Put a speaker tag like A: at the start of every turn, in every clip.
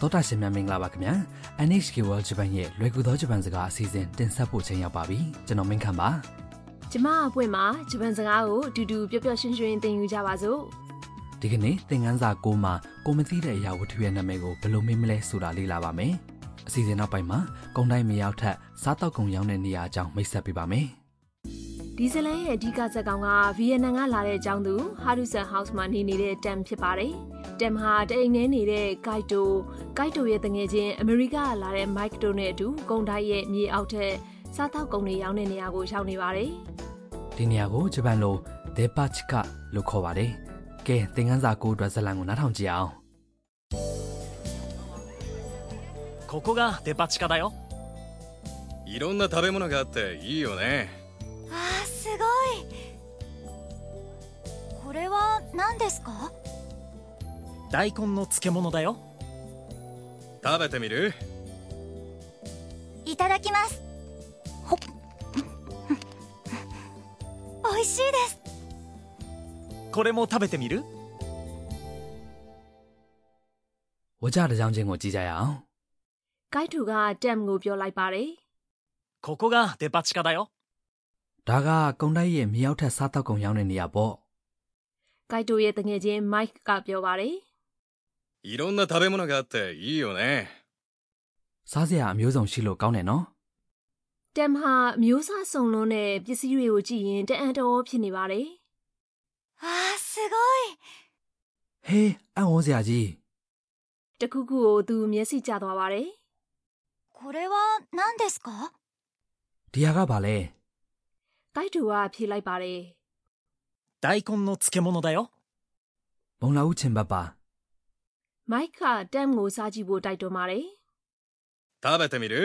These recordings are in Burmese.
A: တောတာရှင်များမင်္ဂလာပါခင်ဗျာ NHK World Japan ရဲ့လွယ်ကူသောဂျပန်စကားအစီအစဉ်တင်ဆက်ဖို့ချိန်ရောက်ပါပြီကျွန်တော်မင်းခမ်းပါ
B: ကျမအပွင့်မှာဂျပန်စကားကိုအတူတူပျော်ပျော်ရွှင်ရွှင်သင်ယူကြပါစို့
A: ဒီကနေ့သင်ခန်းစာကိုမှာကိုမသိတဲ့အရာဝတ္ထုရဲ့နာမည်ကိုဘယ်လိုမေးမလဲဆိုတာလေ့လာပါမယ်အစီအစဉ်နောက်ပိုင်းမှာကုန်းတိုင်းမြေရောက်ထက်စားတောက်ကုန်ရောင်းတဲ့နေရာအကြောင်းမိတ်ဆက်ပေးပါမယ်
B: ဒီဇီလန်ရဲ့အဓိကဇာတ်ကောင်ကဗီယက်နမ်ကလာတဲ့အကြောင်းသူဟာရူဆန်ဟောက်စ်မှာနေနေတဲ့တမ်ဖြစ်ပါတယ်တမ်ဟာတအိမ်ထဲနေတဲ့ဂိုက်တိုဂိုက်တိုရဲ့တငယ်ချင်းအမေရိကကလာတဲ့မိုက်တိုနဲ့အတူဂုံတိုင်းရဲ့မြေအောက်ထက်စားတောက်ကုန်တွေရောင်းတဲ့နေရာကိုရောက်နေပါတယ်
A: ဒီနေရာကိုဂျပန်လို Depachi-ka လို့ခေါ်ပါတယ်ကဲသင်ခန်းစာကိုအတွက်ဇာတ်လမ်းကိုနားထောင်ကြည့်အောင်
C: ここがデパ地下だよ
D: いろんな食べ物があっていいよね
E: わあすごいこれは何ですか
C: 大根の漬物だよ
D: 食べてみる
E: いただきますほっ美味しいです
C: これも食べてみる
A: ဝကြတစ်ကြောင်းချင်းကိုကြည့်ကြရအောင်
B: ဂိုက်တိုကတမ်ကိုပြောလိုက်ပါတယ်
C: ここがデパ地下だよ
A: ဒါကကုန်းတိုင်းရဲ့မြေရောက်ထက်စားတောက်ကုန်ရောင်းတဲ့နေရာပေါ့
B: ဂိုက်တိုရဲ့တငယ်ချင်းမိုက်ကပြောပါတယ်
D: いろんな食べ物があっていいよね
A: စားစရာအမျိုးစုံရှိလို့ကောင်းတယ်နော်
B: တမ်ဟာအမျိုးစားစုံလုံးနဲ့ပစ္စည်းတွေကိုကြည့်ရင်တအံ့တော်ဖြစ်နေပါတယ်
E: わあすごい
A: ဟေးအံ့ဩစရာကြီး
B: တခုခုကိုသူမျက်စိကျသွားပါတယ်
E: これは何ですか
A: ဒီဟာကဘာလဲ
B: ။တိုက်တူကဖြေလိုက်ပါတယ်
C: 大根の漬物だよ
A: မုံလာဦးချင်ဘတ်ပါ
B: ။မိုက်ကတမ်ကိုစားကြည့်ဖို့တိုက်တွန်းပါတယ်
D: 食べてみる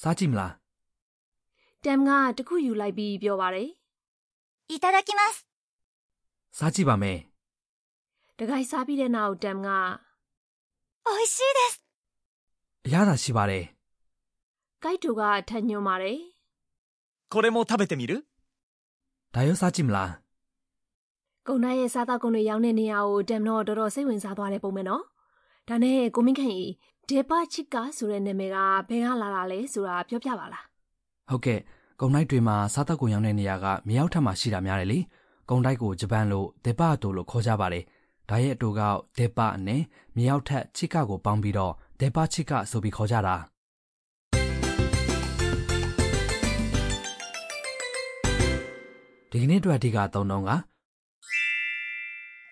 A: စားကြည့်မလား
B: ။တမ်ကတခုယူလိုက်ပြီးပြောပါတယ်
E: いただきます
A: စားကြည့်ပါမယ်
B: ။တခိုက်စားပြီးတဲ့နောက်တမ်က
E: 美味しいです
A: အရသာရှိပါတယ်
B: ကိုက်တူကထပ်ညွှန်ပါတယ်
C: これも食べてみる
A: ဒါရောစားကြည့်မလား
B: ။ကုံနိုင်ရဲ့စားသောက်ကုန်တွေရောင်းတဲ့နေရာကိုတမ်တော့တော်တော်စိတ်ဝင်စားသွားတဲ့ပုံပဲနော်။ဒါနဲ့ကိုမင်းခန့်ကြီးဒေပါချစ်ကာဆိုတဲ့နာမည်ကဘယ်ကလာတာလဲဆိုတာပြောပြပါလား
A: ဟုတ်ကဲ့ကုံတိုက်တွေမှာစားတောက်ကုန်ရောင်းတဲ့နေရာကမြေရောက်ထက်မှာရှိတာများတယ်လေကုံတိုက်ကိုဂျပန်လိုဒေပါအတူလို့ခေါ်ကြပါတယ်ဒါရဲ့အတူကဒေပါအနဲ့မြေရောက်ထက်ချစ်ကကိုပေါင်းပြီးတော့ဒေပါချစ်ကဆိုပြီးခေါ်ကြတာဒီကနေ့အတွက်အဓိကအသုံးတော့က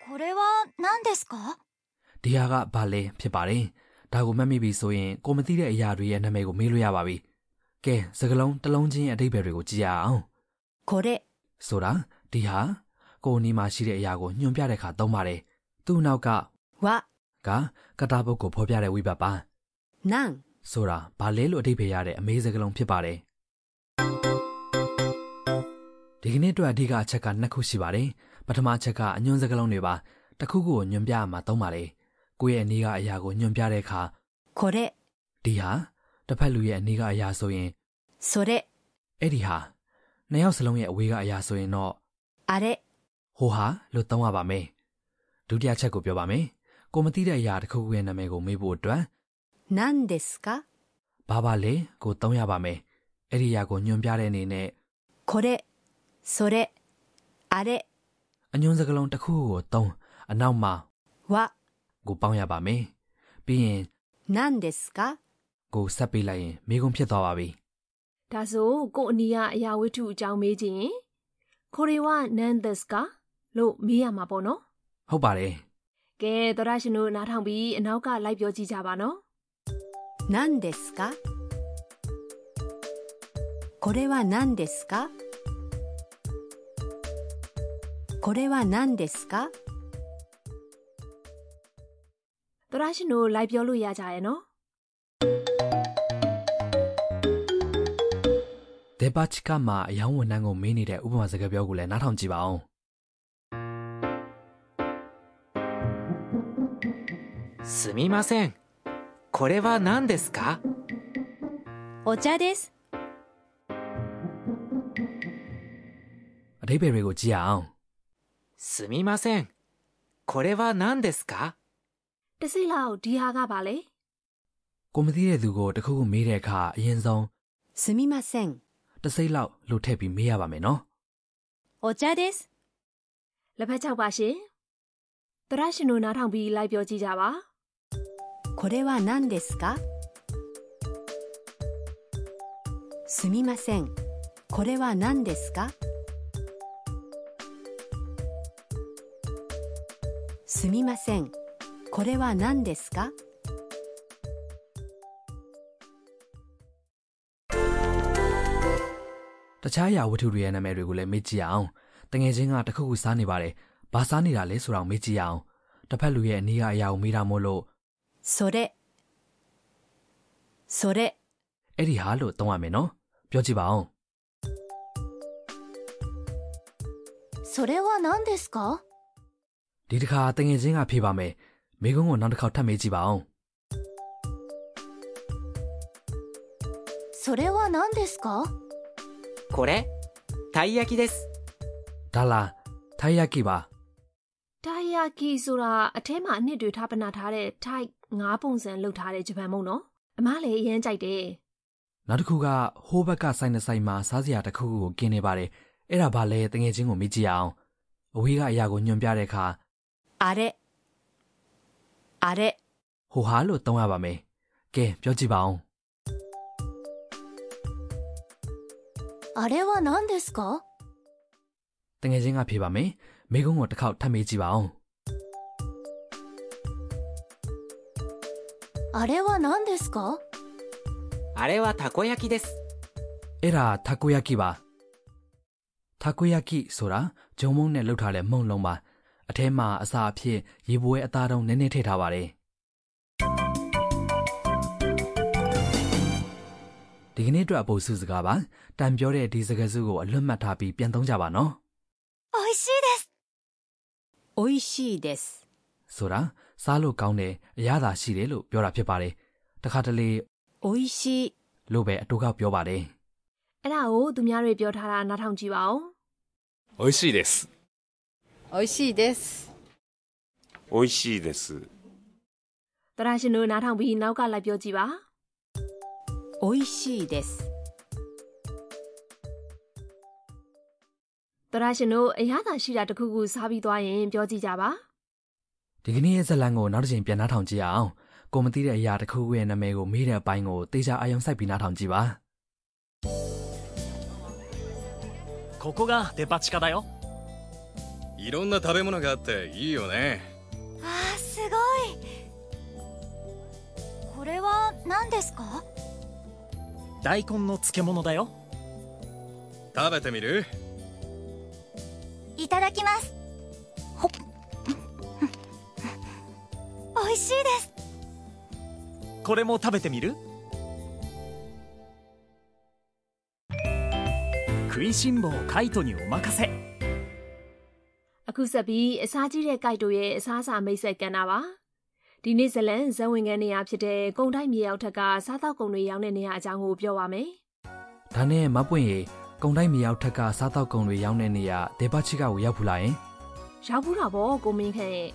E: これは何ですか
A: ဒီဟာကဘာလဲဖြစ်ပါတယ်။ဒါကိုမှတ်မိပြီဆိုရင်ကိုမသိတဲ့အရာတွေရဲ့နာမည်ကိုမေးလို့ရပါပြီ။ကဲစကလုံးတစ်လုံးချင်းရဲ့အဓိပ္ပာယ်တွေကိုကြည့်ရအောင်
E: これ
A: ။ဆိုတာဒီဟာကိုအနီးမှာရှိတဲ့အရာကိုညွှန်ပြတဲ့အခါသုံးပါတယ်။သူ့နောက်က
E: は
A: ကကတာပုတ်ကိုဖော်ပြတဲ့ဝိဘတ်ပါ
E: 何
A: ။ဆိုတာဘာလဲလို့အဓိပ္ပာယ်ရတဲ့အမေးစကလုံးဖြစ်ပါတယ်။ဒီကနေ့အတွက်အဓိကအချက်ကနှစ်ခုရှိပါတယ်။ပထမအချက်ကအညွှန်းစကလုံးတွေပါ။တစ်ခုခုကိုညွှန်ပြရမှာသုံးပါတယ်။ကိုယ့်ရဲ့အနီးကအရာကိုညွှန်ပြတဲ့အခါ
E: これ
A: ဒီဟာတစ်ဖက်လူရဲ့အနီးကအရာဆိုရင်
E: それ
A: အဲ့ဒီဟာနှစ်ယောက်စလုံးရဲ့အဝေးကအရာဆိုရင်တော့
E: あれ
A: ဟိုဟာလို့သုံးရပါမယ်ဒုတိယချက်ကိုပြောပါမယ်ကိုမသိတဲ့အရာတစ်ခုခုရဲ့နာမည်ကိုမေးဖို့အတွက်
E: 何ですか
A: ဘာပါလဲကိုသုံးရပါမယ်အဲ့ဒီအရာကိုညွှန်ပြတဲ့အနေနဲ့
E: これそれあれ
A: အညွှန်းစကားလုံးတစ်ခုခုကိုသုံးအနောက်မှာ
E: は
A: ကိုပေါင်းရပါမယ်ပြီးရင်
E: 何ですか
A: ကိုဆက်ပေးလိုက်ရင်မိကုံးဖြစ်သွားပါပြီ
B: ။ဒါဆိုကိုအနီးကအရာဝတ္ထုအကြောင်းမေးကြည့်ရင်ကိုရီဝနန်သစ်ကလို့မေးရမှာပေါ့နော်။
A: ဟုတ်ပါတယ်
B: ကဲသောရရှင်တို့နားထောင်ပြီးအနောက်ကလိုက်ပြောကြည့်ကြပါနော်
E: 何ですかこれは何ですかこれは何ですか
B: သောရရှင်တို့လိုက်ပြောလို့ရကြရဲ့နော်
A: ဒေပါချီကမှာအယောင်းဝန်ထမ်းကိုမေးနေတဲ့ဥပမာစကားပြောကိုလည်းနားထောင်ကြည့်ပါအောင်
F: すみませんこれは何ですか
E: お茶です
A: အဓိပ္ပာယ်တွေကိုကြည့်ရအောင်
F: すみませんこれは何ですか
B: တစိလောက်ဒီဟာကပါလေ
A: ကိုမသိတဲ့သူကိုတစ်ခုခုမေးတဲ့အခါအရင်ဆုံး
G: すみません。
A: တစ်စိတ်လောက်လှုပ်ထည့်ပြီးမေးရပါမယ်နော်
G: お茶です。
B: လက်ဖက်ချောက်ပါရှင်တရရှင်တို့နားထောင်ပြီးလိုက်ပြောကြည့်ကြပါ
G: これは何ですかすみません。これは何ですかすみません。これは何ですか
A: တခြားအရာဝတ္ထုတွေရဲ့နာမည်တွေကိုလည်းမေ့ကြည့်ရအောင်တငယ်ချင်းကတစ်ခုခုစားနေပါတယ်ဘာစားနေတာလဲဆိုတာကိုမေ့ကြည့်ရအောင်တစ်ဖက်လူရဲ့အနည်းအရာကိုမေးတာမို့လို့
G: それ。それ。
A: အဲ့ဒီဟာလို့သုံးရမယ်နော်ပြောကြည့်ပါအောင်
E: それは何ですか
A: ဒီတစ်ခါတငယ်ချင်းကဖြေပါမယ်မိကုန်းကိုနောက်တစ်ခေါက်ထပ်မေးကြည့်ပါအောင်
E: それは何ですか
F: これたい焼きです
A: ဒါလားထိုင်ရကိပါ
B: တာယကီဆိုတာအထဲမှာအနှစ်တွေထားပနာထားတဲ့ type ၅ပုံစံလုပ်ထားတဲ့ဂျပန်မုံနော်အမလည်းအရင်ကြိုက်တယ်
A: နောက်တစ်ခုကဟိုးဘက်ကဆိုင်တစ်ဆိုင်မှာစားစရာတစ်ခုခုကိုกินနေပါတယ်အဲ့ဒါဘာလဲတငယ်ချင်းကိုမေးကြည့်ရအောင်အဝေးကအရာကိုညွှန်ပြတဲ့အခါ
G: あれ。あれ。
A: ဟိုဟာလို့သုံးရပါမယ်။ကဲပြောကြည့်ပါအောင်
E: あれは何ですか
A: ။တငယ်ချင်းကဖြေပါမယ်။မိကုန်းကိုတစ်ခေါက်ထပ်မေးကြည့်ပါအောင်
E: あれは何ですか
F: あれはたこ焼きです
A: ။အဲ့ဒါတာကိုယာကိပါ။တာကိုယာကိဆိုတာဂျုံမုံနဲ့လှုပ်ထားတဲ့မုံလုံးပါ။အထဲမှာအစာအဖြစ်ရေပွဲအသားတုံးနည်းနည်းထည့်ထားပါတယ်။ဒီကနေ့အတွက်အပေါ်စုစကားပါ။တန်ပြောတဲ့ဒီစကားစုကိုအလွတ်မှတ်ထားပြီးပြန်သုံးကြပါနော်
E: 美味しいです
G: おいしいです。
A: ။ဆိုတာစားလို့ကောင်းတယ်အရသာရှိတယ်လို့ပြောတာဖြစ်ပါတယ်။တခါတလေ
G: おいしい。
A: လို့ပဲအတူကပြောပါတယ်
B: အဲ့ဒါကိုသူများတွေပြောထားတာနားထောင်ကြည့်ပါဦး
H: 美味しいです
G: おいしいです。
H: 美味しいです
B: တရရှင်တို့နားထောင်ပြီးနောက်ကလိုက်ပြောကြည့်ပါ
G: おいしいです。
B: တရရှင်တို့အရသာရှိတာတစ်ခုခုစားပြီးသွားရင်ပြောကြည့်ကြပါ
A: ဒီကနေ့ရဲ့ဇတ်လံကိုနောက်တစ်ချိန်ပြန်နှားထောင်ကြည့်ရအောင်ကိုမသိတဲ့အရာတစ်ခုခုရဲ့နာမည်ကိုမေးတဲ့အပိုင်းကိုတေချာအာရုံစိုက်ပြီးနှားထောင်ကြည့်ပါ
C: ここがデパ地下だよ
D: いろんな食べ物があっていいよね
E: あーすごいこれは何ですか
C: 大根の漬物だよ
D: 食べてみる
E: いただきますほっ美味しいです
C: これも食べてみる食いしん坊カイトにお任せ
B: အခုဆက်ပြီးအစားကြီးတဲ့ကိုက်တို့ရဲ့အစားအစာမိတ်ဆက်ကဏ္ဍပါဒီနေ့ဇလန်ဇဝင်ကန်နေရာဖြစ်တဲ့ကုံတိုင်းမြေရောက်ထက်ကစားသောက်ကုန်တွေရောင်းတဲ့နေရာအကြောင်းကိုပြောပါမယ်
A: ဒါနဲ့မပွင့်ရေကုံတိုင်းမြေရောက်ထက်ကစားတောက်ကုံတွေရောက်တဲ့နေရာဒေပါချီကကိုရောက်ဖူးလာရင်
B: ရောက်ဘူးတာပေါ့ကိုမင်းခန့်ရဲ့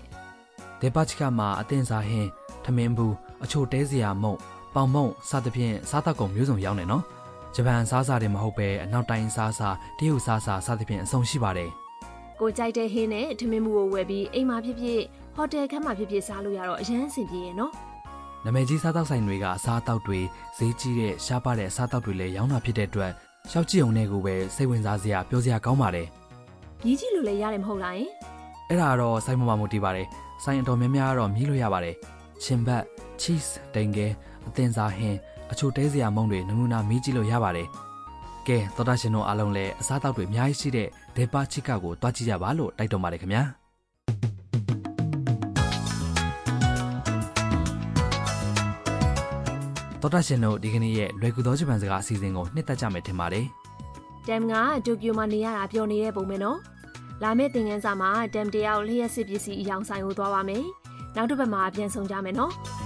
A: ဒေပါချီကမှာအတင်စားဟင်းထမင်းဘူးအချိုတဲစရာမုံပေါင်မုံစသဖြင့်စားတောက်ကုံမျိုးစုံရောက်နေနော်ဂျပန်စားစာတွေမဟုတ်ပဲအနောက်တိုင်းစားစာတရုတ်စားစာစသဖြင့်အဆုံးရှိပါတယ်
B: ကိုကြိုက်တဲ့ဟင်းနဲ့ထမင်းမှုကိုဝယ်ပြီးအိမ်မှာဖြစ်ဖြစ်ဟိုတယ်ခန်းမှာဖြစ်ဖြစ်စားလို့ရတော့အရန်အဆင်ပြေရယ်နော်
A: နာမည်ကြီးစားတောက်ဆိုင်တွေကအစားအသောက်တွေဈေးကြီးတဲ့ရှားပါတဲ့အစားအသောက်တွေလည်းရောင်းတာဖြစ်တဲ့အတွက်ရှောက်ကြည့်အောင်နဲ့ကိုပဲစိတ်ဝင်စားစရာပြောစရာကောင်းပါတယ်
B: မြည်ကြည့်လို့လည်းရတယ်မဟုတ်လားယင်
A: ။အဲ့ဒါကတော့ဆိုင်မမမတီးပါတယ်။ဆိုင်အတော်များများကတော့မြည်လို့ရပါတယ်။ချင်ဘတ် cheese တိမ်ငယ်အသင်စားဟင်းအချိုတဲစရာမုံတွေနမူနာမြည်ကြည့်လို့ရပါတယ်။ကဲသောတာရှင်တို့အားလုံးလည်းအစားအသောက်တွေအများကြီးရှိတဲ့ဒေပါချီကာကိုတွားကြည့်ကြပါလို့တိုက်တွန်းပါတယ်ခင်ဗျာ။ ။တော်တာရှင်တို့ဒီကနေ့ရဲ့လွယ်ကူသောဂျပန်စကားအစီအစဉ်ကိုနှစ်သက်ကြမယ်ထင်ပါတယ်
B: ။တမ်ကဒိုကျိုမှာနေရတာပြောနေတဲ့ပုံပဲနော်။လာမယ့်သင်ခန်းစာမှာတမ်တရားကိုလျှက်စစ်ပစ္စည်းအယောင်ဆိုင်ကိုသွားပါမယ်။နောက်တစ်ပတ်မှာပြန်ဆောင်ကြမယ်နော်။